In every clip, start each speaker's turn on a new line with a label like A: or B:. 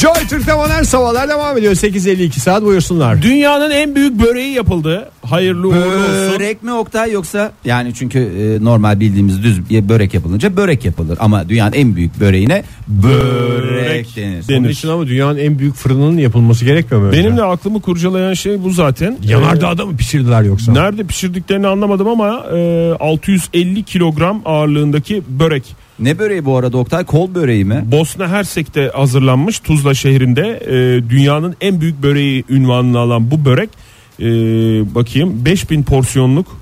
A: Joy Türk'te modern sabahlar devam ediyor 8.52 saat buyursunlar.
B: Dünyanın en büyük böreği yapıldı. Hayırlı uğurlu olsun.
C: Börek mi Oktay yoksa yani çünkü e, normal bildiğimiz düz bir börek yapılınca börek yapılır ama dünyanün en büyük böreğine börek denir.
A: Onun için ama dünyanın en büyük fırınının yapılması gerekmiyor mu? önce?
B: Benim de aklımı kurcalayan şey bu zaten.
A: Yanardağda mı pişirdiler yoksa?
B: Ee, nerede pişirdiklerini anlamadım ama e, 650 kilogram ağırlığındaki börek.
C: Ne böreği bu arada Oktay? Kol böreği mi?
B: Bosna Hersek'te hazırlanmış Tuzla şehrinde e, dünyanın en büyük böreği ünvanını alan bu börek e, bakayım 5000 porsiyonluk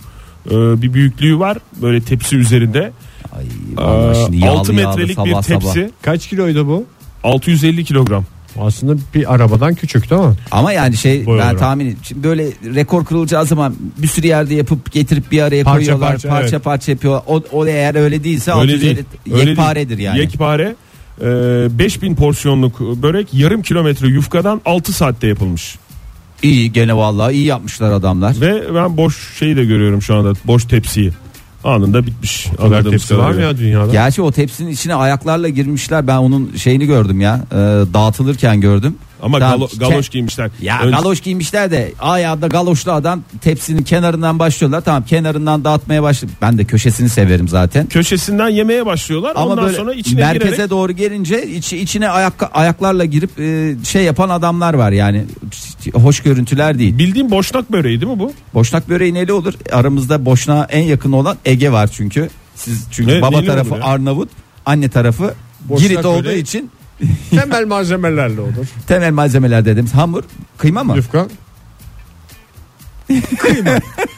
B: e, bir büyüklüğü var böyle tepsi üzerinde.
C: Ay, vallahi şimdi yağlı
B: 6
C: yağlı
B: metrelik bir
C: sabah
B: tepsi
C: sabah.
A: Kaç kiloydu bu?
B: 650 kilogram.
A: Aslında bir arabadan küçüktü ama.
C: Ama yani şey
A: Boy
C: ben
A: olarak.
C: tahmin şimdi böyle rekor kırılacağı zaman bir sürü yerde yapıp getirip bir araya
A: Parça
C: koyuyorlar.
A: parça,
C: Parça parça,
A: evet.
C: yapıyorlar. O, o eğer öyle değilse
B: Öyle değil. öyle
C: yekparedir
B: değil.
C: yani.
B: Yekpare. e, 5000 porsiyonluk börek yarım kilometre yufkadan 6 saatte yapılmış.
C: iyi gene vallahi iyi yapmışlar adamlar.
B: Ve ben boş şeyi de görüyorum şu anda. Boş tepsiyi. Anında bitmiş.
A: Kadar
B: anladığımız
A: tepsi var mı
B: kadarıyla.
A: ya dünyada?
C: Gerçi o tepsinin içine ayaklarla girmişler. Ben onun şeyini gördüm ya. e, dağıtılırken gördüm.
B: Ama
C: Tamam,
B: galo- galoş
C: ke-
B: giymişler.
C: Ya
B: Önce-
C: galoş giymişler de ayağında galoşlu adam tepsinin kenarından başlıyorlar. Tamam kenarından dağıtmaya başlıyor. Ben de köşesini severim zaten.
B: Köşesinden yemeye başlıyorlar.
C: Ama
B: Ondan
C: böyle
B: sonra içine
C: merkeze
B: girerek
C: doğru gelince içi, içine ayak, ayaklarla girip e, şey yapan adamlar var yani. Hoş görüntüler değil.
B: bildiğim boşnak böreği değil mi bu?
C: Boşnak böreği neli olur? Aramızda boşnağa en yakın olan Ege var çünkü. Siz çünkü
B: Ne-
C: baba
B: neyli
C: tarafı
B: olur ya?
C: Arnavut, anne tarafı
A: Boşnak
C: Girit olduğu
A: böreği.
C: için
A: Temel malzemelerle olur.
C: temel malzemeler dediğimiz hamur, kıyma mı?
A: Yufka.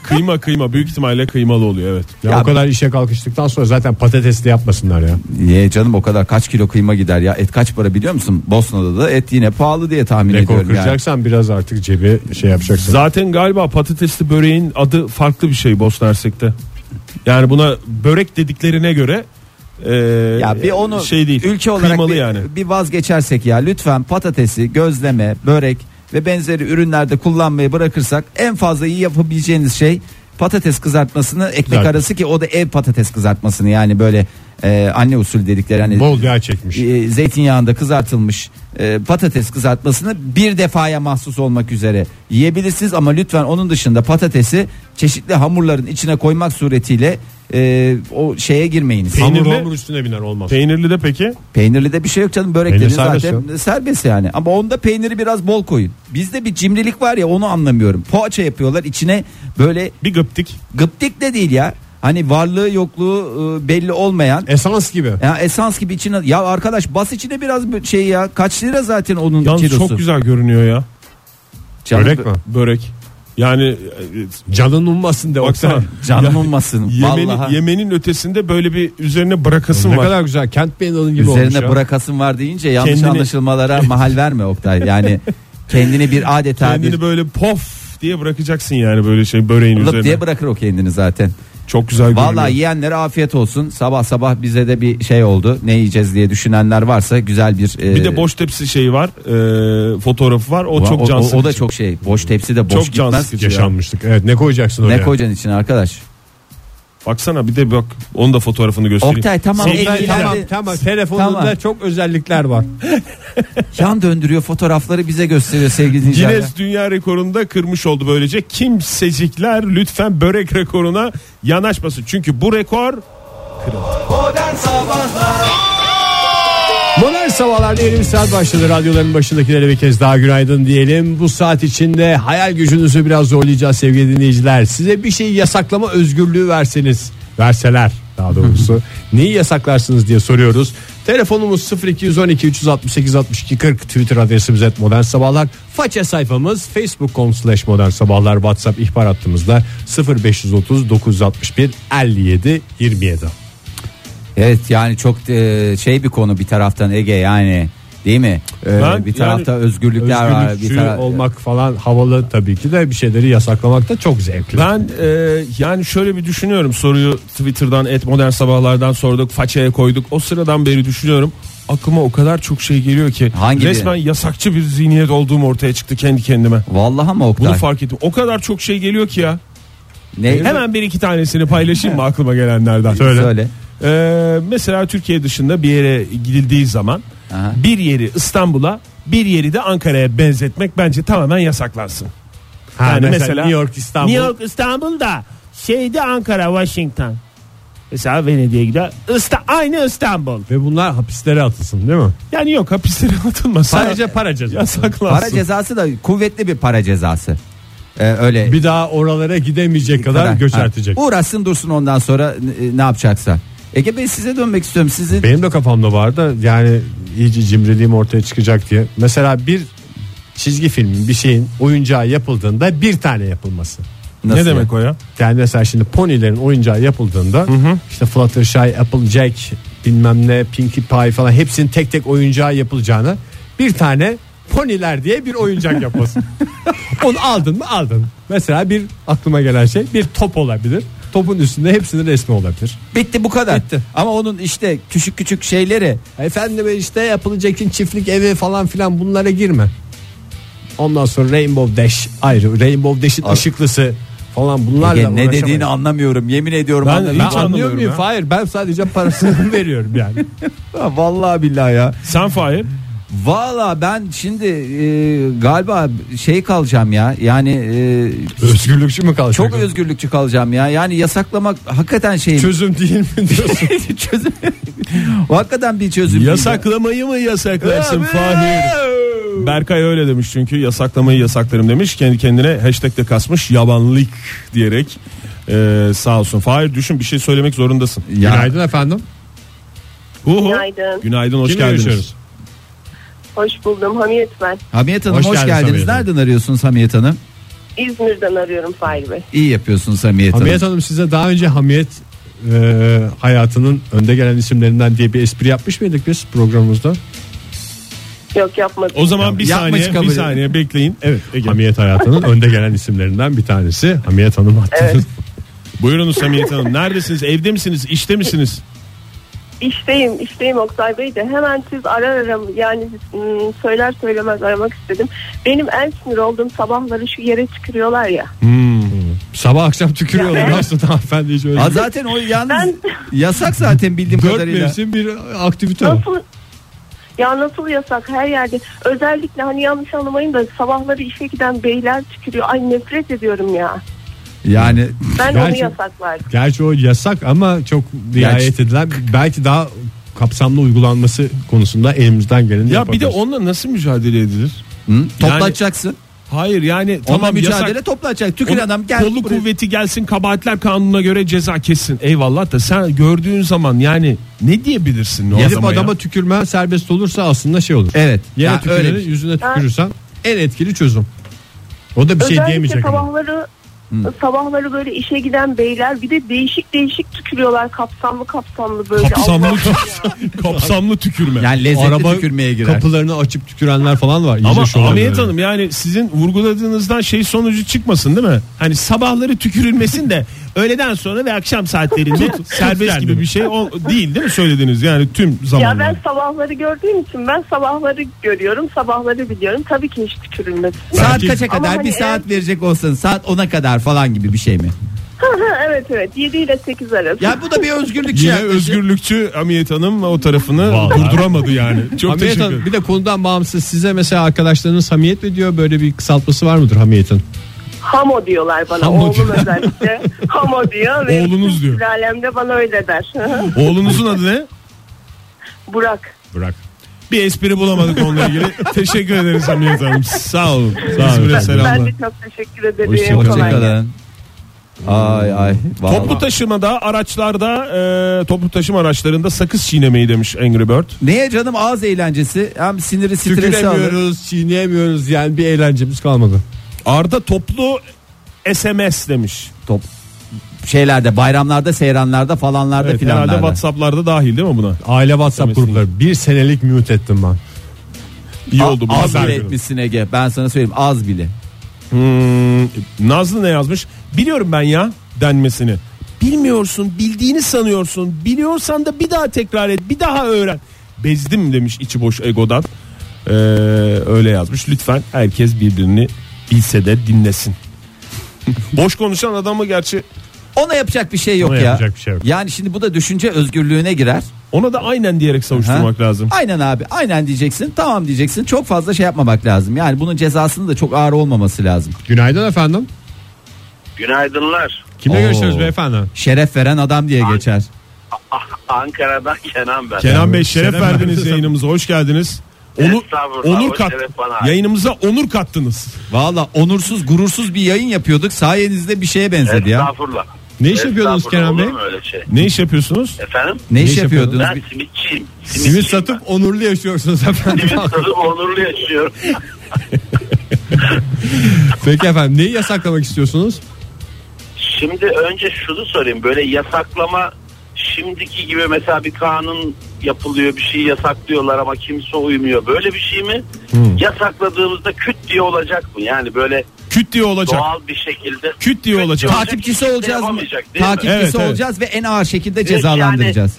B: Kıyma kıyma büyük ihtimalle kıymalı oluyor evet.
A: Ya,
C: Ya-
A: o kadar işe kalkıştıktan sonra zaten patatesli yapmasınlar ya.
C: Niye canım o kadar kaç kilo kıyma gider ya? Et kaç para biliyor musun? Bosna'da da et yine pahalı diye tahmin
A: Rekor
C: ediyorum yani.
A: kıracaksan biraz artık cebi şey yapacaksın.
B: Zaten galiba patatesli böreğin adı farklı bir şey Bosna Hersek'te. Yani buna börek dediklerine göre e,
C: Ya bir onu
B: şey değil.
C: ülke olarak
B: kıymalı
C: bir,
B: yani.
C: bir vazgeçersek ya lütfen patatesi, gözleme, börek ve benzeri ürünlerde kullanmayı bırakırsak en fazla iyi yapabileceğiniz şey patates kızartmasını ekmek
A: Kızartma.
C: arası ki o da ev patates kızartmasını yani böyle e, anne usulü dedikleri hani
A: Bol yağ çekmiş.
C: e, zeytinyağında kızartılmış e, patates kızartmasını bir defaya mahsus olmak üzere yiyebilirsiniz ama lütfen onun dışında patatesi çeşitli hamurların içine koymak suretiyle e, o şeye girmeyiniz.
A: Hamur
B: Peynirli-
A: hamur üstüne biner olmaz.
B: Peynirli de peki?
C: Peynirli de bir şey yok canım börek
A: Peynir
C: dedin
A: serbest
C: zaten serbest yani ama onda peyniri biraz bol koyun. Bizde bir cimrilik var ya onu anlamıyorum. Poğaça yapıyorlar içine böyle
B: Bir gıptik.
C: gıptik de değil ya. Hani varlığı yokluğu e, belli olmayan
A: Esans gibi.
C: ya esans gibi içine ya arkadaş bas içine biraz bir şey ya kaç lira zaten onun
B: Yalnız
C: kilosu.
B: çok güzel görünüyor ya
C: Canım-
A: Börek mi?
B: börek. Yani e,
A: Canın ummasın de
B: Baksana.
A: Oktay.
C: Canım olmasın
B: yemenin,
C: vallahi.
B: yemenin ötesinde böyle bir üzerine bırakasın
A: Ne
B: var.
A: kadar güzel kent beyanının gibi olmuş
C: Üzerine
A: ya.
C: bırakasın var deyince yanlış
B: Kendini-
C: anlaşılmalara mahal verme Oktay. Yani kendini bir adeta
B: Kendini
C: bir
B: böyle pof diye bırakacaksın yani böyle şey böreğin
C: lıp
B: üzerine.
C: diye bırakır o kendini zaten.
B: Çok güzel görünüyor.
C: Vallahi yiyenlere afiyet olsun. Sabah sabah bize de bir şey oldu. Ne yiyeceğiz diye düşünenler varsa güzel bir e,
B: Bir de boş tepsi şeyi var. e, fotoğrafı var. O
C: o,
B: çok can
C: o-
B: sıkıcı.
C: o da çok şey. Boş tepsi de boş
B: Çok can
C: gitmez.
B: sıkıcı.
A: Yaşanmışlık. Evet ne koyacaksın oraya?
C: Ne koyacaksın için arkadaş?
B: Baksana bir de bak onun da fotoğrafını göstereyim.
C: Oktay tamam
A: Oktay,
C: elgilerde
A: tamam tamam telefonunda
C: Tamam.
A: çok özellikler var.
C: yan döndürüyor fotoğrafları bize gösteriyor sevgili dinleyiciler.
B: Guinness Dünya Rekoru'nda kırmış oldu böylece. Kimsecikler lütfen börek rekoruna yanaşmasın. Çünkü bu rekor
A: Modern sabahlarda yeni bir saat başladı. Radyoların başındakilere bir kez daha günaydın diyelim. Bu saat içinde hayal gücünüzü biraz zorlayacağız sevgili dinleyiciler. Size bir şeyi yasaklama özgürlüğü verseniz, verseler daha doğrusu neyi yasaklarsınız diye soruyoruz. Telefonumuz 0212 368 62 40 Twitter adresimiz et modern sabahlar. Faça sayfamız facebook.com slash modern sabahlar whatsapp ihbar hattımızda 0530 961 57 27.
C: Evet yani çok e, şey bir konu bir taraftan Ege yani değil mi? E,
B: Ben
C: bir tarafta
B: yani
C: özgürlükler var. Bir
A: Özgürlükçü
C: tara-
A: olmak falan havalı tabii ki de bir şeyleri yasaklamak da çok zevkli.
B: ben e, yani şöyle bir düşünüyorum soruyu Twitter'dan et modern sabahlardan sorduk façaya koyduk. O sıradan beri düşünüyorum aklıma o kadar çok şey geliyor ki
C: Hangi biri?
B: resmen yasakçı bir zihniyet olduğum ortaya çıktı kendi kendime.
C: Vallahi ama
B: Bunu
C: Oktay.
B: fark ettim. O kadar çok şey geliyor ki ya.
C: ne?
B: Hemen bir iki tanesini paylaşayım mı aklıma gelenlerden?
C: E, Söyle.
B: Ee, mesela Türkiye dışında bir yere gidildiği zaman
C: Aha.
B: bir yeri İstanbul'a bir yeri de Ankara'ya benzetmek bence tamamen yasaklansın.
A: Ha,
B: Yani
A: mesela,
B: mesela-
A: New York İstanbul.
D: New York İstanbul'da şeyde Ankara Washington. Mesela Venedik'e gider. İsta, aynı İstanbul.
A: Ve bunlar hapislere atılsın değil mi?
B: Yani yok hapislere atılmasın.
A: Sadece para cezası.
B: yasaklansın.
C: Para cezası da kuvvetli bir para cezası. Ee, öyle
A: Bir daha oralara gidemeyecek kadar, göç
C: ha.
A: ertecek.
C: Uğraşsın dursun ondan sonra e, ne yapacaksa. Ege Bey size dönmek istiyorum. Sizi
A: Benim de kafamda vardı yani iyice cimriliğim ortaya çıkacak diye. Mesela bir çizgi filmin bir şeyin oyuncağı yapıldığında bir tane yapılması.
C: Nasıl
B: ne demek
C: ya?
B: o ya?
A: Yani mesela şimdi ponilerin oyuncağı yapıldığında işte Fluttershy, Applejack bilmem ne Pinkie Pie falan hepsinin tek tek oyuncağı yapılacağını bir tane poniler diye bir oyuncak yapmasın. Onu aldın mı aldın. Mesela bir aklıma gelen şey bir top olabilir. Topun üstünde hepsinin resmi olabilir.
C: Bitti bu kadar. Ama onun işte küçük küçük şeyleri
A: Efendim işte yapılacakin çiftlik evi falan filan bunlara girme. Ondan sonra Rainbow Dash ayrı. Rainbow Dash'in
C: Abi-
A: ışıklısı falan bunlarla
C: Ege, ne
A: uğraşamayız.
C: dediğini anlamıyorum. Yemin ediyorum
B: Ben-
C: anlamıyorum.
A: Ben
B: Hiç
A: anlıyor
B: anlamıyorum
A: muyum?
B: ya.
A: Hayır ben sadece parasını veriyorum yani.
C: Ha, Vallahi billahi ya.
B: Sen Fahir.
C: Vallahi ben şimdi e, galiba şey kalacağım ya. Yani e,
A: Özgürlükçü mü kalacak?
C: çok özgürlükçü kalacağım ya. Yani yasaklamak hakikaten şey
A: Çözüm değil mi diyorsun?
C: çözüm. hakikaten bir çözüm. değil ya.
B: Yasaklamayı mı yasaklarsın Fahir? Berkay öyle demiş çünkü yasaklamayı yasaklarım demiş. Kendi kendine hashtag de kasmış yabanlık diyerek e, sağ olsun. Fahir düşün bir şey söylemek zorundasın.
C: Ya.
A: Günaydın efendim.
B: Uhu.
E: Günaydın.
B: Günaydın hoş
A: Kimle
B: geldiniz.
A: görüşüyoruz?
E: Hoş buldum Hamiyet ben.
C: Hamiyet Hanım hoş,
A: Hoş geldiniz
C: geldiniz.
A: Hamiyet Hanım.
C: Nereden arıyorsunuz Hamiyet Hanım?
E: İzmir'den arıyorum Fahir Bey.
C: İyi yapıyorsunuz Hamiyet,
A: Hamiyet
C: Hanım.
A: Hanım size daha önce Hamiyet e, hayatının önde gelen isimlerinden diye bir espri yapmış mıydık biz programımızda?
E: Yok yapmadım.
B: O zaman bir
C: Yapma
B: saniye
C: çıkabilir.
B: bir saniye bekleyin.
A: Evet. Hamiyet hayatının önde gelen isimlerinden bir tanesi Hamiyet Hanım hattınız.
E: Evet.
B: Buyurunuz Samiyet Hanım. Neredesiniz? Evde misiniz? İşte misiniz?
E: İşteyim, işteyim Oktay Bey de hemen siz arar aram yani hmm, söyler söylemez aramak istedim. Benim en sinir olduğum sabahları şu yere tükürüyorlar ya.
A: Sabah akşam tükürüyorlar aslında hanımefendi hiç öyle.
C: Ha,
A: bir-
C: zaten o yalnız
E: Ben-
C: yasak zaten bildiğim
A: Dört
C: kadarıyla.
A: mevsim bir aktivite o.
E: Nasıl ya nasıl yasak her yerde. Özellikle hani yanlış anlamayın da sabahları işe giden beyler tükürüyor. Ay nefret ediyorum ya.
C: Yani
E: Ben onu
A: Gerçi-
E: yasaklardım.
A: Gerçi o yasak ama çok riayet
C: Gerçi-
A: edilen belki daha kapsamlı uygulanması konusunda elimizden geleni
B: Ya bir de
A: yapabiliriz.
B: onunla nasıl mücadele edilir?
C: hı, toplatacaksın.
B: Hayır yani
C: Onunla
B: tamam
C: mücadele
B: yasak.
C: toplatacak. Tükür
B: Onun
C: adam gel.
B: Kolluk
C: buraya.
B: kuvveti gelsin kabahatler kanununa göre ceza kessin. Eyvallah da sen gördüğün zaman yani ne diyebilirsin o
A: Gelip
B: adama ya?
A: adama tükürme serbest olursa aslında şey olur.
C: Evet.
A: Yere
C: Ya
A: tüküreni
C: öyle. şey.
A: yüzüne tükürürsen en etkili çözüm. O da bir şey
E: Özellikle
A: diyemeyecek ama.
E: sabahları
B: Hmm.
E: sabahları böyle işe giden beyler bir de değişik değişik tükürüyorlar kapsamlı kapsamlı böyle.
B: Kapsamlı
E: Allah-
B: kapsamlı tükürme.
C: Yani lezzetli
A: Araba
C: tükürmeye girer.
A: Kapılarını açıp tükürenler falan var.
B: ama
A: iyice şu an.
B: Hamiyet Hanım yani sizin vurguladığınızdan şey sonucu çıkmasın değil mi? Hani sabahları tükürülmesin de öğleden sonra ve akşam saatlerinde serbest gibi bir şey o değil değil mi söylediğiniz yani tüm
E: Ya
B: zamanlar.
E: ben sabahları gördüğüm için ben sabahları görüyorum, sabahları biliyorum. Tabii ki hiç tükürülmesin.
C: Saat
A: Belki-
C: kaça kadar?
E: Ama hani
C: bir
E: en-
C: saat verecek olsun. Saat 10'a kadar falan gibi bir şey mi?
E: evet evet 7 ile 8 arası.
C: Ya bu da bir özgürlük
B: Yine
C: yaklaşım.
B: özgürlükçü Hamiyet Hanım o tarafını
A: Vallahi.
B: durduramadı yani. Çok
A: Hamiyet
B: teşekkür
A: Hanım
B: ederim.
A: bir de konudan bağımsız size mesela arkadaşlarınız hamiyet mi diyor böyle bir kısaltması var mıdır hamiyet'in?
E: Hamo diyorlar bana
B: Hamo
E: oğlum
B: diyor.
E: özellikle. Hamo diyor ve
B: Oğlunuz
E: bütün
B: diyor.
E: sülalemde bana öyle der.
B: Oğlunuzun adı ne?
E: Burak.
A: Bırak.
B: Bir espri bulamadık onunla ilgili. teşekkür ederiz Hamiyet Hanım. Sağ olun.
A: olun
B: İzmir'e
A: efendim.
E: Ben
B: selamlar.
E: de çok teşekkür ederim. Kolay gelsin.
C: Hoşçakalın. Ay ay. vallahi.
B: Toplu taşımada araçlarda e, toplu taşıma araçlarında sakız çiğnemeyi demiş Angry Bird.
C: Neye canım ağız eğlencesi hem siniri stresi alır.
A: Tüküremiyoruz, çiğneyemiyoruz yani bir eğlencemiz kalmadı.
B: Arda toplu SMS demiş.
C: Top şeylerde bayramlarda seyranlarda falanlarda
B: Evet, herhalde
C: filanlarda.
B: WhatsApp'larda dahil değil mi buna?
A: Aile WhatsApp grupları bir senelik mute ettim ben.
B: İyi
C: A-
B: oldu bu.
C: Az
B: Pazar
C: bile
B: günü.
C: etmişsin Ege. Ben sana söyleyeyim az bile.
B: Hmm, Nazlı ne yazmış? Biliyorum ben ya denmesini. Bilmiyorsun, bildiğini sanıyorsun. Biliyorsan da bir daha tekrar et, bir daha öğren. Bezdim demiş içi boş egodan. Ee, öyle yazmış. Lütfen herkes birbirini bilse de dinlesin. boş konuşan adamı gerçi
C: Ona yapacak bir şey yok
A: Ona
C: ya.
A: yapacak bir şey yok.
C: Yani şimdi bu da düşünce özgürlüğüne girer.
B: Ona da aynen diyerek savuşturmak
C: Ha?
B: lazım.
C: Aynen abi. Aynen diyeceksin. Tamam diyeceksin. Çok fazla şey yapmamak lazım. Yani bunun cezasının da çok ağır olmaması lazım.
A: Günaydın efendim.
F: Günaydınlar.
A: Kimle
C: Oo.
A: görüşüyoruz beyefendi?
C: Şeref veren adam diye geçer.
F: Ah, Ankara'dan Kenan ben.
B: Kenan Bey şeref
A: Şeref
B: verdiniz
A: verdiniz.
B: yayınımıza. Hoş geldiniz. Onur,
F: Estağfurullah,
B: onur
F: o
B: kat,
F: şeref bana.
B: yayınımıza onur kattınız.
C: Valla onursuz gurursuz bir yayın yapıyorduk. Sayenizde bir şeye benzedi ya.
F: Estağfurullah.
A: Ne iş yapıyordunuz
F: Estağfurullah,
A: Kenan
F: olur
A: Bey?
F: mu öyle şey?
B: Ne iş yapıyorsunuz?
F: Efendim?
C: Ne iş
A: iş
C: yapıyordunuz?
F: Ben simitçiyim.
A: Simit satıp onurlu yaşıyorsunuz efendim.
F: Simit satıp onurlu yaşıyorum.
A: Peki efendim neyi yasaklamak istiyorsunuz?
F: Şimdi önce şunu sorayım. Böyle yasaklama şimdiki gibi mesela bir kanun yapılıyor bir şey yasaklıyorlar ama kimse uymuyor. Böyle bir şey mi? Yasakladığımızda küt diye olacak mı? Yani böyle
B: Küt diye olacak.
F: doğal bir şekilde.
B: Küt diye olacak.
C: Takipçisi
F: Kimse
C: olacağız mı?
F: yapamayacak, değil mi?
C: Takipçisi
B: Evet, evet.
C: olacağız ve en ağır şekilde cezalandıracağız.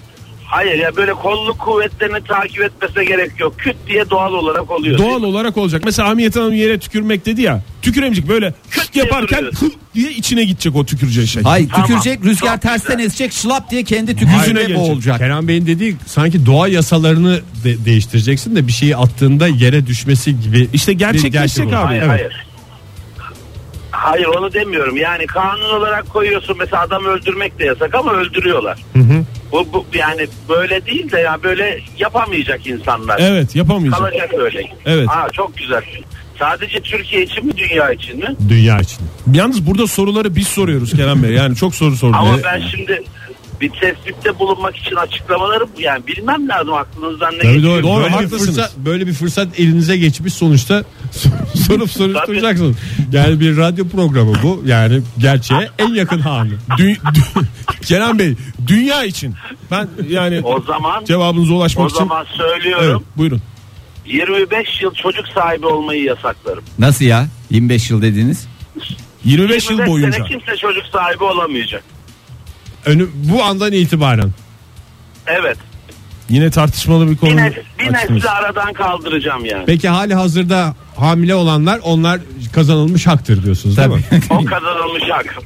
F: Hayır ya böyle kolluk kuvvetlerini takip etmese gerek yok. Küt diye doğal olarak oluyor.
B: Doğal olarak olacak. Mesela Hamiyet Hanım yere tükürmek dedi ya. Tüküremeyecek böyle küt
F: diye
B: yaparken
F: duruyor.
B: küt diye içine gidecek o tüküreceği şey.
C: Hayır
F: Tamam.
C: tükürecek rüzgar
F: Çok
C: tersten
F: güzel.
C: esecek şılap diye kendi
B: Yüzüne
C: tükürsüne
B: gelecek.
C: boğulacak.
A: Kenan Bey'in dediği sanki doğa yasalarını de- değiştireceksin de bir şeyi attığında yere düşmesi gibi.
B: İşte
A: bir
B: gerçekleşecek
A: gerçek
B: abi.
A: olacak.
F: Hayır
A: Evet.
F: hayır. Hayır onu demiyorum. Yani kanun olarak koyuyorsun mesela adam öldürmek de yasak ama öldürüyorlar. Bu, bu yani böyle değil de ya böyle yapamayacak insanlar.
B: Evet yapamayacak.
F: Kalacak öyle.
B: Evet.
F: Aa, çok güzel. Sadece Türkiye için mi dünya için mi?
A: Dünya için.
B: Yalnız burada soruları biz soruyoruz Kenan Bey. Yani çok soru sorduk.
F: Ama ben şimdi bir tespitte bulunmak için açıklamaları yani bilmem lazım aklınızdan ne
A: Tabii
F: geçiyor.
A: doğru.
B: Doğru,
A: böyle, bir
B: haklısınız.
A: fırsat, böyle bir fırsat elinize geçmiş sonuçta sorup soruşturacaksınız. Yani bir radyo programı bu. Yani gerçeğe en yakın hali.
B: Dü- dü- Kenan Bey dünya için. Ben yani
F: O zaman
B: cevabınıza
F: o
B: ulaşmak için.
F: zaman
B: Evet,
F: söylüyorum.
B: buyurun.
F: 25 yıl çocuk sahibi olmayı yasaklarım.
C: Nasıl ya? 25 yıl dediniz.
B: 25 yıl
F: 25
B: boyunca.
F: sene kimse çocuk sahibi olamayacak.
A: Önü, bu andan itibaren.
F: Evet.
B: Yine tartışmalı bir
F: Bir,
B: konu.
F: nes- bir
B: açtınız.
F: nesli aradan kaldıracağım yani.
A: Peki hali hazırda hamile olanlar onlar kazanılmış haktır diyorsunuz değil mi?
C: Tabii.
F: O kazanılmış hak.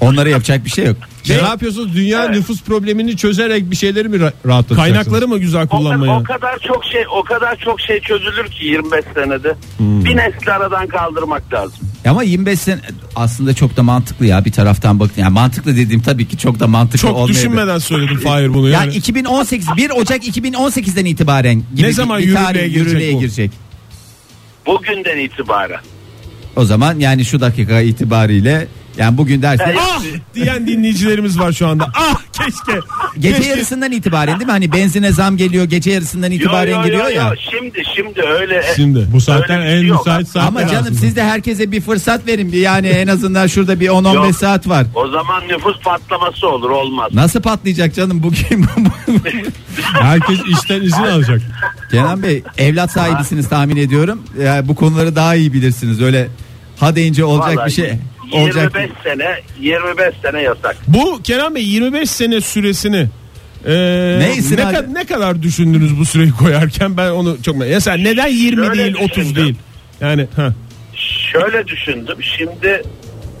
C: Onlara yapacak bir şey yok.
A: Ne yapıyorsunuz? Dünya
F: Evet.
A: nüfus problemini çözerek bir şey- şeyleri mi ra- rahatlatacaksınız?
B: Kaynakları mı güzel
F: o, kadar,
B: kullanmaya?
F: o kadar çok şey o kadar çok şey çözülür ki 25 senede.
C: Hmm.
F: Bir nesli aradan kaldırmak lazım.
C: Ama 25 sene aslında çok da mantıklı ya bir taraftan bakın. Yani mantıklı dediğim tabii ki çok da mantıklı
B: Çok
C: olmayabilir.
B: düşünmeden söyledim Fahir bunu.
C: Yani
B: yani.
C: 2018 1 Ocak 2018'den itibaren gibi
B: Ne zaman
C: bir- bir tarih
B: yürürlüğe girecek
C: yürürlüğe
B: bu?
C: girecek.
F: Bugünden itibaren.
C: O zaman yani şu dakika itibariyle yani bugün derse
B: Ah diyen dinleyicilerimiz var şu anda. Ah keşke.
C: gece
B: keşke.
C: yarısından itibaren değil mi? Hani benzine zam geliyor gece yarısından
F: Yo,
C: itibaren
F: yo, yo,
C: geliyor
F: yo.
C: ya.
F: Şimdi şimdi öyle.
A: Şimdi bu saatten
F: Öyle bir şey
A: en
F: yok.
A: müsait saat.
C: Ama canım siz de herkese bir fırsat verin. Bir Yani en azından şurada bir 10-15
F: Yok.
C: saat var.
F: O zaman nüfus patlaması olur olmaz.
C: Nasıl patlayacak canım bugün?
A: herkes işten izin alacak.
C: Kenan Bey evlat sahibisiniz tahmin ediyorum. Yani bu konuları daha iyi bilirsiniz. Öyle ha deyince olacak
F: Vallahi
C: bir şey.
F: 25
C: Olacak.
F: sene 25 sene yasak.
B: Bu Kenan Bey 25 sene süresini e, ne,
C: Neyse abi.
B: ka- ne kadar düşündünüz bu süreyi koyarken ben onu çok merak Mesela neden 20
F: Şöyle
B: değil 30
F: düşündüm.
B: değil? Yani ha.
F: Şöyle düşündüm. Şimdi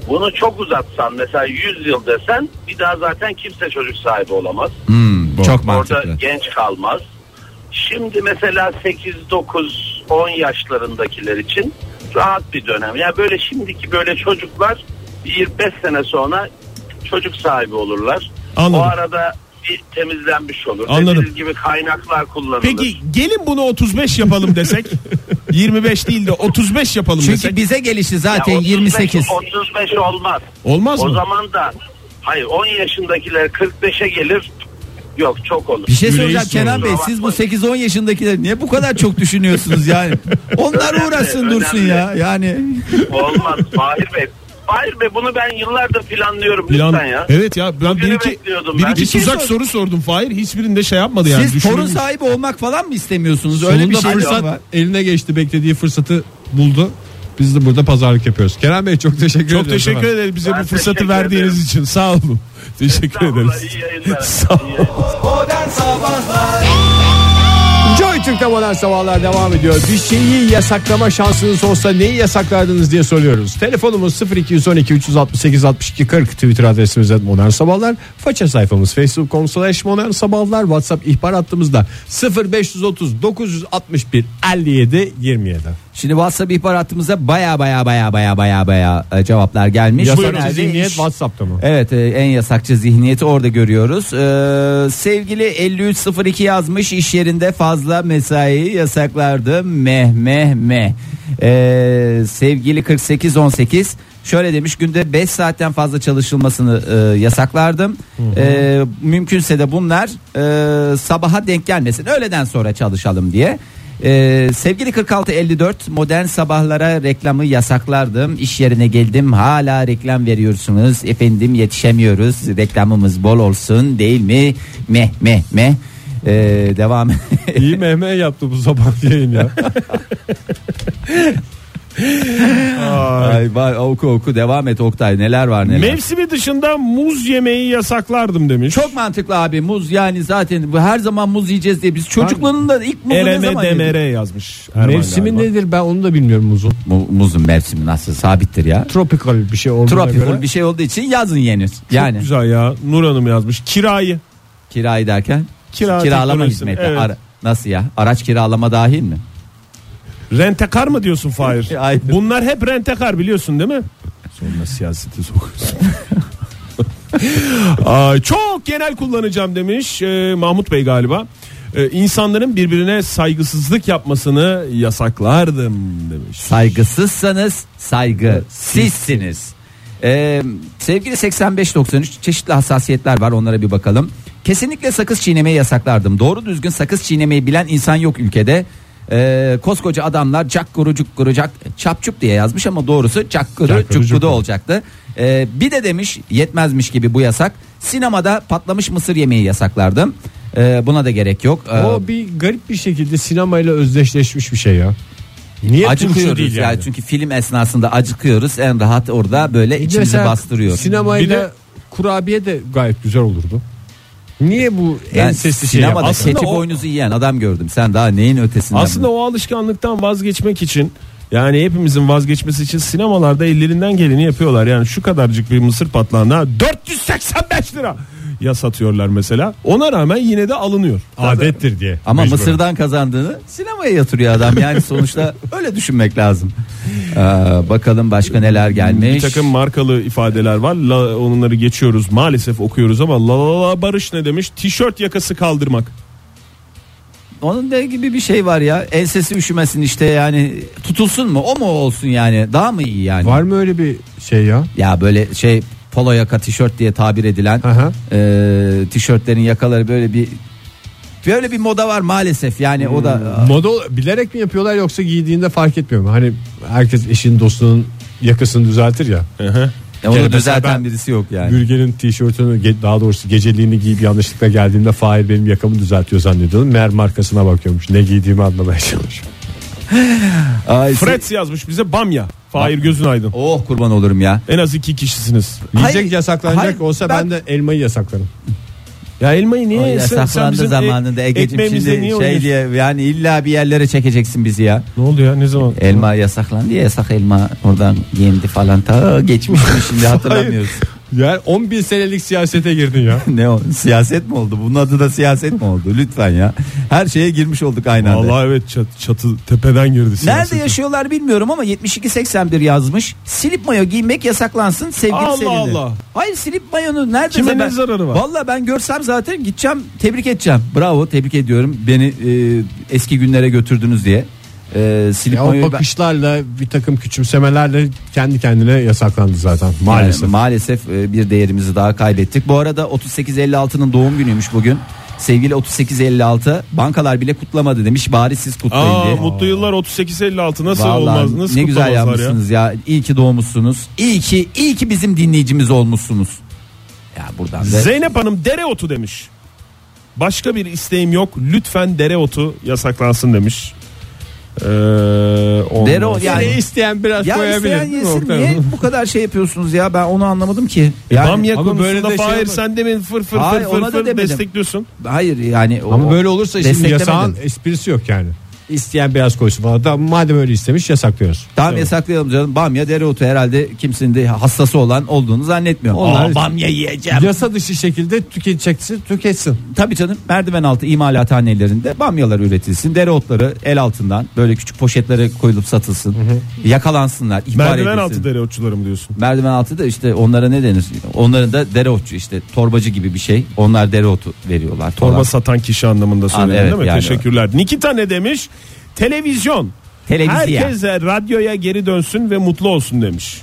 F: bunu çok uzatsan mesela 100 yıl desen bir daha zaten kimse çocuk sahibi olamaz.
C: Hmm, çok
F: Orada
C: mantıklı.
F: genç kalmaz. Şimdi mesela 8 9 10 yaşlarındakiler için rahat bir dönem. Ya yani böyle şimdiki böyle çocuklar 25 sene sonra çocuk sahibi olurlar.
B: Anladım.
F: O arada bir temizlenmiş olur.
B: Anladım.
F: Dediğiniz gibi kaynaklar kullanılır.
B: Peki gelin bunu 35 yapalım desek. 25 değil de 35 yapalım
C: Çünkü
B: desek.
C: bize gelişi zaten
F: Ya
C: 28.
F: 35 olmaz.
B: Olmaz
F: O
B: mı?
F: zaman da hayır 10 yaşındakiler 45'e gelir. Yok çok olur.
C: Bir şey
B: Yüreği
C: söyleyeceğim Kenan Bey
F: sorun.
C: siz bu 8-10 yaşındakileri niye bu kadar çok düşünüyorsunuz yani? Onlar
F: Önemli,
C: uğraşsın
F: önemli.
C: dursun ya yani.
B: şey-
F: Olmaz. Fahir Bey. Fahir Bey bunu ben yıllardır planlıyorum
B: Plan-
F: lütfen ya.
B: Evet ya ben bir
F: Bugünü
B: iki,
F: bekliyordum
B: bir
F: ben.
B: iki
F: Bir şey
B: tuzak
C: sor-
B: soru sordum Fahir. Hiçbirinde şey yapmadı yani.
C: siz
B: düşünülmüş.
C: torun sahibi olmak falan mı istemiyorsunuz? Öyle
A: Sonunda
C: bir şey mi
A: fırsat
C: var?
A: eline geçti. Beklediği fırsatı buldu. Biz de burada pazarlık yapıyoruz. Kenan Bey çok teşekkür
B: Çok
A: ediyoruz
B: teşekkür
A: efendim.
B: ederiz bize
F: Ben
B: bu fırsatı
F: teşekkür
B: verdiğiniz
F: ederim.
B: için. Sağ olun. Teşekkür ederiz.
F: Estağfurullah, iyi yayınlar.
B: Sağ
F: İyi yayınlar.
A: Joy Türk'te Modern Sabahlar devam ediyor. Bir şeyi yasaklama şansınız olsa neyi yasaklardınız diye soruyoruz. Telefonumuz 0212 368 62 40 Twitter adresimiz @modernsabahlar. Modern Sabahlar. Faça sayfamız facebook.com slash Modern Sabahlar. Whatsapp ihbar hattımızda 0530 961 57 27.
C: Şimdi WhatsApp ihbar hattımıza baya baya baya baya baya baya e, cevaplar gelmiş.
A: Yasakçı
C: Genelde
A: zihniyet
C: iş-
A: Whatsapp'ta mı?
C: Evet e, en yasakçı zihniyeti orada görüyoruz. Ee, sevgili 5302 yazmış iş yerinde fazla mesaiyi yasaklardı. Meh meh meh. Ee, sevgili 4818 şöyle demiş günde 5 saatten fazla çalışılmasını e, yasaklardım. Ee, mümkünse de bunlar e, sabaha denk gelmesin öğleden sonra çalışalım diye. Ee, sevgili 4654 modern sabahlara reklamı yasaklardım. İş yerine geldim hala reklam veriyorsunuz. Efendim yetişemiyoruz. Reklamımız bol olsun değil mi? Meh meh meh. Ee, devam.
A: İyi meme yaptı bu sabah yayın ya.
C: Ay, vay, oku oku devam et Oktay neler var neler.
B: Mevsimi dışında muz yemeği yasaklardım demiş.
C: Çok mantıklı abi muz yani zaten bu her zaman muz yiyeceğiz diye biz çocukluğunda ilk muzu ne
B: Ereme
C: zaman yedik?
B: demere yazmış. Erman
A: Mevsimi
B: galiba.
A: nedir ben onu da bilmiyorum muzun.
C: Mu- muzun mevsimi nasıl sabittir ya.
A: Tropical bir şey olduğuna göre.
C: Tropical bir şey olduğu için yazın yenir. Yani
B: Çok güzel ya. Nur Hanım yazmış. Kirayı.
C: kirayı derken
B: Kira
C: kiralama
B: teknolojisi,
C: hizmeti.
B: evet.
C: Ara- nasıl ya? Araç kiralama dahil mi?
B: Rentekar mı diyorsun Fahir?
C: Hayır.
B: Bunlar hep rentekar biliyorsun değil mi? Sonra siyaseti sokuyorsun. Aa, çok genel kullanacağım demiş e, Mahmut Bey galiba. E, insanların birbirine saygısızlık yapmasını yasaklardım demiş.
C: Saygısızsanız saygısızsınız. Ee, sevgili 85-93 çeşitli hassasiyetler var onlara bir bakalım. Kesinlikle sakız çiğnemeyi yasaklardım. Doğru düzgün sakız çiğnemeyi bilen insan yok ülkede. Ee, koskoca adamlar cakkuru cukkuru cak, çapçup diye yazmış ama doğrusu cakkuru cukkuru olacaktı. Ee, bir de demiş yetmezmiş gibi bu yasak. Sinemada patlamış mısır yemeği yasaklardım. Ee, buna da gerek yok. Ee,
A: O bir garip bir şekilde sinemayla özdeşleşmiş bir şey ya. Niye turşu
C: acıkıyoruz
A: değil
C: ya
A: yani?
C: çünkü film esnasında acıkıyoruz en rahat orada böyle içimizi
A: Mesela
C: bastırıyoruz.
A: Sinemayla
B: Bir de-
A: kurabiye de gayet güzel olurdu. Niye bu
C: Ben
A: en sesli şey?
C: sinemada
A: ya?
B: Aslında
C: keçi
B: o-
C: boynuzu yiyen adam gördüm. Sen daha neyin ötesinden?
B: Aslında o alışkanlıktan vazgeçmek için yani hepimizin vazgeçmesi için sinemalarda ellerinden geleni yapıyorlar. Yani şu kadarcık bir mısır patlağına 485 lira ya satıyorlar mesela. Ona rağmen yine de alınıyor.
A: Adettir diye.
C: ama
A: Mecburen.
C: Mısır'dan kazandığını sinemaya yatırıyor adam. Yani sonuçta öyle düşünmek lazım. Ee, bakalım başka neler gelmiş.
B: Bir takım markalı ifadeler var. La, onları geçiyoruz. Maalesef okuyoruz ama la, la, la Barış ne demiş? Tişört yakası kaldırmak.
C: Onun ne gibi bir şey var ya? Ensesi üşümesin işte yani tutulsun mu? O mu olsun yani? Daha mı iyi yani?
A: Var mı öyle bir şey ya?
C: Ya böyle şey polo yaka tişört diye tabir edilen
A: Aha.
C: e, tişörtlerin yakaları böyle bir böyle bir moda var maalesef. Yani o
B: Hmm.
C: da e,
A: Moda bilerek mi yapıyorlar yoksa giydiğinde fark etmiyor mu? Hani herkes eşinin dostunun yakasını düzeltir ya.
C: Ya onu
A: Yani mesela
C: düzelten
A: ben-
C: birisi yok yani.
A: Bürge'nin tişörtünü ge- daha doğrusu geceliğini giyip yanlışlıkla geldiğinde Fahir benim yakamı düzeltiyor zannediyordum. Meğer markasına bakıyormuş. Ne giydiğimi anlamaya çalışıyor.
C: Ay,
B: Fred
C: se-
B: yazmış bize bamya. Fahir gözün aydın.
C: Oh kurban olurum ya.
B: En az iki kişisiniz.
A: Yiyecek
C: Hayır,
A: yasaklanacak
C: hayır,
A: olsa ben... de elmayı yasaklarım.
B: Ya elmayı niye
C: O
B: sen- sen
C: yasaklandı
B: bizim e-
C: zamanında Ege'cim
B: ekmeğimizle
C: şimdi
B: niye
C: şey
B: oynuyorsun?
C: diye yani illa bir yerlere çekeceksin bizi ya.
B: Ne oldu ya ne zaman?
C: Elma yasaklandı ya yasak elma oradan yendi falan ta geçmiş mi şimdi hatırlamıyoruz.
A: Yani 10 bin senelik siyasete girdin ya.
C: ne o siyaset mi oldu? Bunun adı da siyaset mi oldu? Lütfen ya. Her şeye girmiş olduk aynı anda.
B: Allah evet çat- çatı tepeden girdi.
C: Nerede
B: siyasete.
C: yaşıyorlar bilmiyorum ama 7281 yazmış. Silip mayo giymek yasaklansın sevgili
B: Allah
C: Selin'e.
B: Allah.
C: Hayır silip mayonun nerede?
B: Kime
C: zaten-
B: ne zararı var?
C: Valla ben görsem zaten gideceğim tebrik edeceğim. Bravo tebrik ediyorum beni e, eski günlere götürdünüz diye. E, silip
A: Ya o
C: mayoyu ben-
A: bakışlarla bir takım küçümsemelerle kendi kendine yasaklandı zaten maalesef.
C: Yani maalesef e, bir değerimizi daha kaybettik. Bu arada 3856'nın doğum günüymüş bugün. Sevgili 3856 bankalar bile kutlamadı demiş bari siz kutlayın
B: Aa,
C: diye.
B: mutlu yıllar 3856 nasıl
C: Vallahi
B: olmaz nasıl
C: ne güzel
B: kutlamazlar
C: yapmışsınız ya. İyi ki doğmuşsunuz. İyi ki iyi ki bizim dinleyicimiz olmuşsunuz. Ya buradan da
B: ya? Zeynep Hanım dereotu demiş. Başka bir isteğim yok lütfen dereotu yasaklansın demiş. Ee, Ee, ondan
C: Dereotu
B: sonra-
C: yani.
A: Yani isteyen biraz
C: Ya
A: koyabilir.
C: isteyen
A: değil mi
C: yesin
A: Oktay
C: niye
A: Hanım?
C: bu kadar şey yapıyorsunuz ya ben onu anlamadım ki. Yani,
B: E, Bamya
A: Ama
B: konusunda
A: böyle de şey
B: Fahir
A: olmaz.
B: sen demin fır fır
C: Hayır,
B: fır
C: ona
B: fır
C: da
B: fır
C: demedim.
B: destekliyorsun.
C: hayır yani. o-
A: Ama böyle olursa şimdi
C: desteklemedim.
A: yasağın esprisi yok yani. İsteyen biraz koysun falan. Da, madem öyle istemiş yasaklıyoruz.
C: Tamam yasaklayalım canım. Bamya dereotu herhalde kimsenin de hassası olan olduğunu zannetmiyorum.
A: Onlar
C: Aa,
A: için.
C: bamya yiyeceğim.
A: Yasa dışı şekilde tüketeceksin tüketsin.
C: Tabii canım merdiven altı imalathanelerinde bamyalar üretilsin. Dereotları el altından böyle küçük poşetlere koyulup satılsın. Yakalansınlar, ihbar
B: Merdiven
C: edilsin.
B: altı dereotçuları mı diyorsun?
C: Merdiven altı da işte onlara ne denir? Onların da dereotçu işte torbacı gibi bir şey. Onlar dereotu veriyorlar.
B: Torba
C: falan.
B: satan kişi anlamında söyledin
C: evet,
B: değil mi?
C: yani.
B: Teşekkürler. Nikita ne demiş? Televizyon.
C: Televiziya.
B: Herkese radyoya geri dönsün ve mutlu olsun demiş.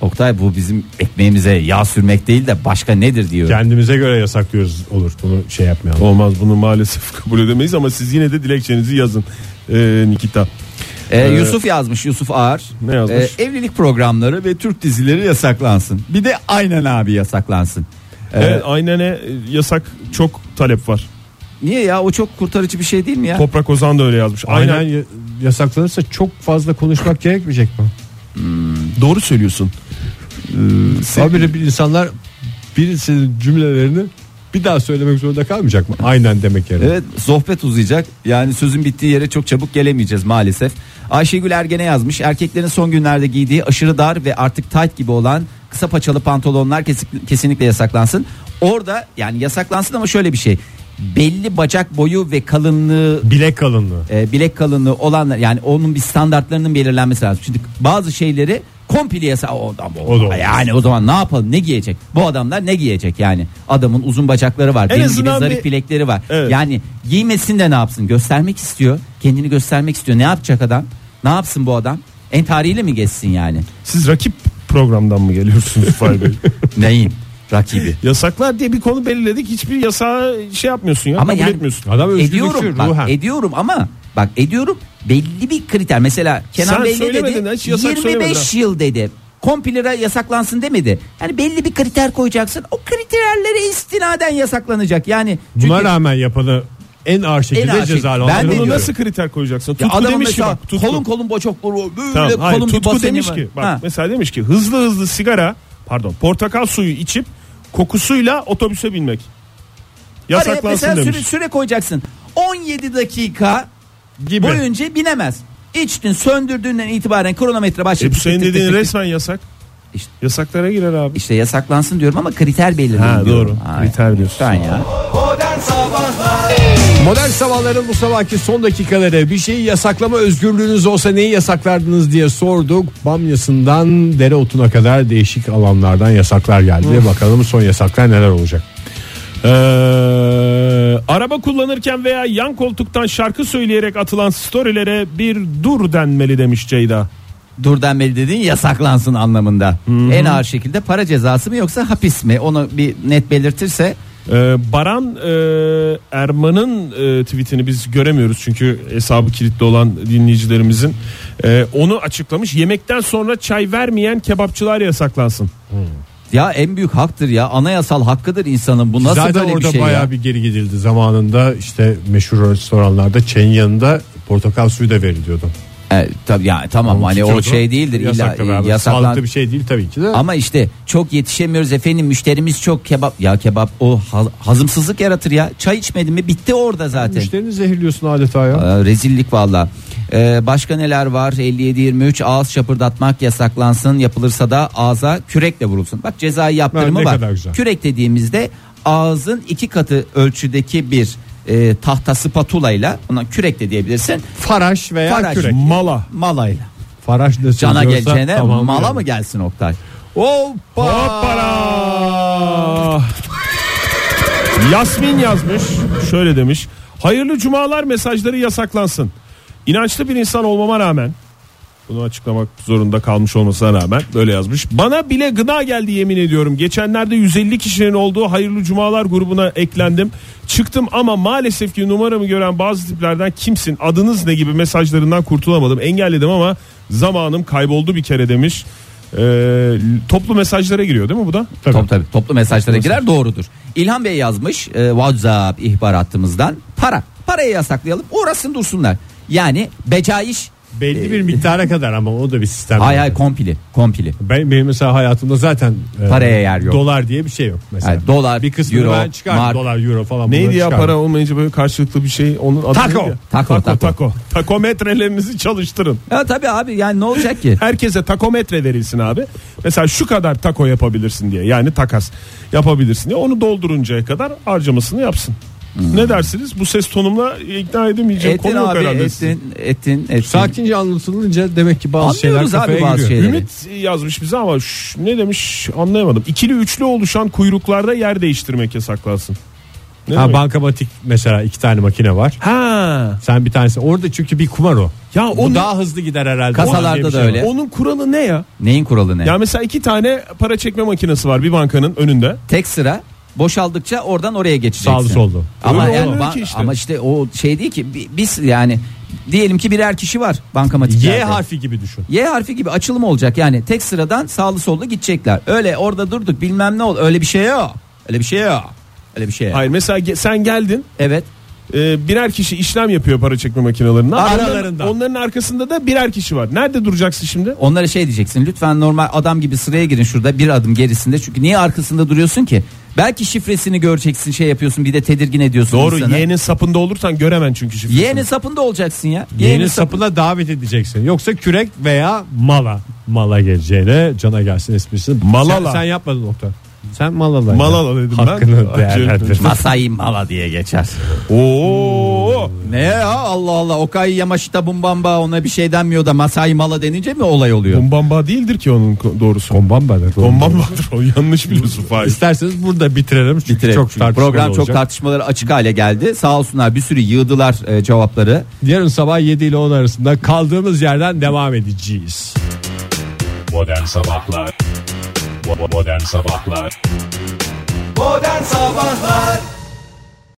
C: Oktay bu bizim ekmeğimize yağ sürmek değil de başka nedir diyor.
A: Kendimize göre yasaklıyoruz olur. Bunu şey yapmayalım.
B: Olmaz bunu maalesef kabul edemeyiz ama siz yine de dilekçenizi yazın ee, Nikita.
C: Ee, Yusuf yazmış Yusuf Ağar.
B: e- Ne yazmış?
C: Ee, evlilik programları ve Türk dizileri yasaklansın. Bir de aynen abi yasaklansın. Ee,
B: Evet, aynen e, yasak çok talep var.
C: Niye ya o çok kurtarıcı bir şey değil mi ya?
B: Toprak Ozan da öyle yazmış. Aynen.
A: Aynen, ya- yasaklanırsa çok fazla konuşmak gerekmeyecek mi?
B: Doğru söylüyorsun. Ee,
A: Habire bir insanlar birisinin cümlelerini bir daha söylemek zorunda kalmayacak mı? Aynen demek yerine.
C: Evet sohbet uzayacak. Yani sözün bittiği yere çok çabuk gelemeyeceğiz maalesef. Ayşegül Ergen'e yazmış. Erkeklerin son günlerde giydiği aşırı dar ve artık tight gibi olan kısa paçalı pantolonlar kesik- kesinlikle yasaklansın. Orada yani yasaklansın ama şöyle bir şey. Belli bacak boyu ve kalınlığı
A: Bilek kalınlığı.
C: e, bilek kalınlığı olanlar yani onun bir standartlarının belirlenmesi lazım. Şimdi bazı şeyleri komple yasa o, o,
A: O da olmaz.
C: yani o zaman ne yapalım ne giyecek bu adamlar ne giyecek yani adamın uzun bacakları var
B: En
C: benim gibi
B: azından
C: zarif
B: bir-
C: bilekleri var
B: Evet.
C: yani giymesin de ne yapsın göstermek istiyor kendini göstermek istiyor ne yapacak adam ne yapsın bu adam entariyle mi geçsin yani
B: Siz rakip programdan mı geliyorsunuz Fahir Bey?
C: neyim rakibi
B: Yasaklar diye bir konu belirledik. Hiçbir yasağı şey yapmıyorsun ya.
C: Ama
B: kabul
C: yani-
B: etmiyorsun.
A: Adam
C: ediyorum
A: özgürlükçü
C: bak
A: ruhen.
C: ediyorum ama bak ediyorum belli bir kriter mesela Kenan
B: Sen
C: Bey ne
B: söylemedin
C: dedi
B: lan, hiç yasak
C: 25 yıl dedi kompilere yasaklansın demedi yani belli bir kriter koyacaksın o kriterlere istinaden yasaklanacak yani çünkü
A: Buna rağmen yapanı
C: En
A: en ağır
C: ağır
A: şekilde
C: şekilde. Ben de
A: cezalandırılıyor.
B: Bunu
C: diyorum.
B: nasıl kriter koyacaksın?
C: ya
B: Tutku
C: adam
B: demiş ki
C: mesela
B: bak. Tutku.
C: kolun kolun bocokları böyle
B: Tamam, hayır,
C: kolun bir
B: tutku
C: baseni
B: demiş
C: var.
B: ki bak
C: Ha.
B: mesela demiş ki hızlı hızlı sigara pardon portakal suyu içip kokusuyla otobüse binmek.
C: Araya
B: Yasaklansın
C: mesela süre,
B: demiş.
C: süre koyacaksın 17 dakika
B: Gibi.
C: boyunca binemez İçtin söndürdüğünden itibaren kronometre başlıyor.
B: E bu senin
C: Tık tık tık
B: dediğin
C: tık tık.
B: resmen yasak.
C: İşte-
B: Yasaklara girer abi.
C: İşte yasaklansın diyorum ama kriter belirleyin
B: Ha,
C: diyorum.
B: doğru.
C: Ay,
B: Kriter diyorsun.
C: lütfen ya.
A: Modern sabahların bu sabahki son dakikaları bir şeyi yasaklama özgürlüğünüz olsa neyi yasaklardınız diye sorduk. Bamyasından dereotuna kadar değişik alanlardan yasaklar geldi. Bakalım son yasaklar neler olacak.
B: Ee, araba kullanırken veya yan koltuktan şarkı söyleyerek atılan storylere bir dur denmeli demiş Ceyda.
C: Dur denmeli dediğin yasaklansın anlamında. En ağır şekilde para cezası mı yoksa hapis mi? Onu bir net belirtirse
B: Ee, Baran e, Erman'ın e, tweetini biz göremiyoruz çünkü hesabı kilitli olan dinleyicilerimizin Ee, onu açıklamış. Yemekten sonra çay vermeyen kebapçılar yasaklansın.
C: ya en büyük haktır ya. Anayasal hakkıdır insanın. Bu nasıl
A: Zaten
C: böyle
A: orada
C: bir şey
A: bayağı
C: ya?
A: bir geri gidildi. Zamanında işte meşhur restoranlarda çayın yanında portakal suyu da veriliyordu.
C: E, tabii ya tamam hani o şey değildir
A: Yasakla
C: illa
A: beraber.
C: yasaklan.
A: Sağlıklı bir şey değil tabii ki de.
C: Ama işte çok yetişemiyoruz efendim müşterimiz çok kebap ya kebap o ha- hazımsızlık yaratır ya. Çay içmedin mi bitti orada zaten.
A: Müşterini zehirliyorsun adeta ya.
C: Aa, Ee, rezillik valla. Ee, başka neler var? 57-23 ağız şapırdatmak yasaklansın yapılırsa da ağza kürekle vurulsun. Bak cezai
A: Ha,
C: yaptırımı
A: ne
C: var.
A: kadar güzel.
C: Kürek dediğimizde ağzın iki katı ölçüdeki bir e, tahta spatulayla ona kürek de diyebilirsin.
A: Faraş veya
C: Faraş.
A: kürek.
B: Mala.
C: Malayla.
A: Faraş da
C: Cana
A: söylüyorsa
C: geleceğine
A: tamam
C: mala
A: yani.
C: mı gelsin Oktay?
B: Hoppala. Yasmin yazmış. Şöyle demiş. Hayırlı cumalar mesajları yasaklansın. İnançlı bir insan olmama rağmen bunu açıklamak zorunda kalmış olmasına rağmen böyle yazmış. Bana bile gına geldi yemin ediyorum. Geçenlerde 150 kişinin olduğu Hayırlı Cumalar grubuna eklendim. Çıktım ama maalesef ki numaramı gören bazı tiplerden kimsin adınız ne gibi mesajlarından kurtulamadım. Engelledim ama zamanım kayboldu bir kere demiş. Ee, toplu mesajlara giriyor değil mi bu da?
C: Top, tabii, toplu mesajlara girer doğrudur. İlhan Bey yazmış e, WhatsApp ihbar hattımızdan para. Parayı yasaklayalım uğrasın dursunlar. Yani becaiş e,
A: Belli bir miktara kadar ama o da bir sistem.
C: hay hay kompili kompili.
A: Ben, benim mesela hayatımda zaten e,
C: Paraya yer yok.
A: Dolar diye bir şey yok mesela.
C: Yani dolar,
A: bir kısmını
C: euro,
A: ben çıkardım.
C: mark.
A: Dolar, euro falan.
B: Neydi
A: bunları
B: ya
A: çıkardım.
B: para olmayınca böyle karşılıklı bir şey onun adı
A: Taco.
B: neydi ya?
C: Taco,
B: Taco.
C: taco.
B: Taco. Takometrelerinizi çalıştırın.
C: Ya tabii abi yani ne olacak ki?
B: Herkese takometre verilsin abi. Mesela şu kadar tako yapabilirsin diye. Yani takas yapabilirsin diye. Onu dolduruncaya kadar harcamasını yapsın.
A: Hmm.
B: Ne dersiniz? Bu ses tonumla ikna edemeyeceğim
C: Ettin
B: konu yok
C: abi
B: herhalde.
C: ettin ettin ettin.
A: Sakince anlatılınca demek ki bazı
C: Anlıyoruz
A: şeyler kafaya
C: abi bazı
A: giriyor.
C: şeyleri.
B: Ümit yazmış bize ama şş, ne demiş anlayamadım. İkili üçlü oluşan kuyruklarda yer değiştirmek yasaklansın. Ne
A: Ha,
B: demek?
A: bankamatik mesela iki tane makine var.
B: ha.
A: Sen bir tanesi orada çünkü bir kumar o.
B: Ya
A: Bu
B: onun,
A: daha hızlı gider herhalde.
C: Kasalarda
A: Diye bir şey
C: da
A: var.
C: öyle.
B: onun kuralı ne ya?
C: Neyin kuralı ne?
B: Ya mesela iki tane para çekme makinesi var bir bankanın önünde.
C: Tek sıra boşaldıkça oradan oraya geçeceksin.
A: Sağlı sollu.
C: Ama
B: Öyle
C: yani
B: olmuyor
C: ban-
B: ki işte.
C: ama işte o şey değil ki bi- biz yani diyelim ki birer kişi var bankamatiklerde.
A: Y harfi gibi düşün.
C: Y harfi gibi açılım olacak yani tek sıradan sağlı sollu gidecekler. Öyle orada durduk bilmem ne ol öyle bir şey yok. Öyle bir şey yok. Öyle bir şey yok.
B: Hayır mesela ge- sen geldin
C: Evet.
B: e, birer kişi işlem yapıyor para çekme makinelerinde.
A: Aralarında.
B: Onların, onların arkasında da birer kişi var. Nerede duracaksın şimdi?
C: Onlara şey diyeceksin lütfen normal adam gibi sıraya girin şurada bir adım gerisinde. Çünkü niye arkasında duruyorsun ki? Belki şifresini göreceksin şey yapıyorsun bir de tedirgin ediyorsun
B: Doğru
C: insanı.
B: Y'nin sapında olursan göremen çünkü şifresini.
C: Y'nin sapında olacaksın ya.
A: Yeni
C: Y'nin sapı-
A: sapına davet edeceksin. Yoksa kürek veya mala. Mala geleceğine cana gelsin esprisini.
B: Malala.
A: Sen, sen yapmadın nokta. Sen malala.
B: Malala dedim ben.
A: Hakkını
B: Acı.
A: değerlendir.
C: Masai Mala diye geçer.
B: Oo.
C: Ne ya Allah Allah Okay Yamashita Bumbamba ona bir şey denmiyor da Masai Mala denince mi olay oluyor?
B: Bombamba değildir ki onun ko- doğrusu.
A: Kombambadır.
B: Bombambadır o yanlış biliyorsun Fahir.
A: İsterseniz burada bitirelim. Çünkü
C: Bitirelim.
A: Çok tartışmalı
C: Program çok
A: olacak.
C: tartışmaları açık hale geldi. Sağ olsunlar bir sürü yığdılar e, cevapları.
A: Yarın sabah 7 ile 10 arasında kaldığımız yerden devam edeceğiz.
G: Modern Sabahlar Bo- bo- Modern Sabahlar
C: Modern Sabahlar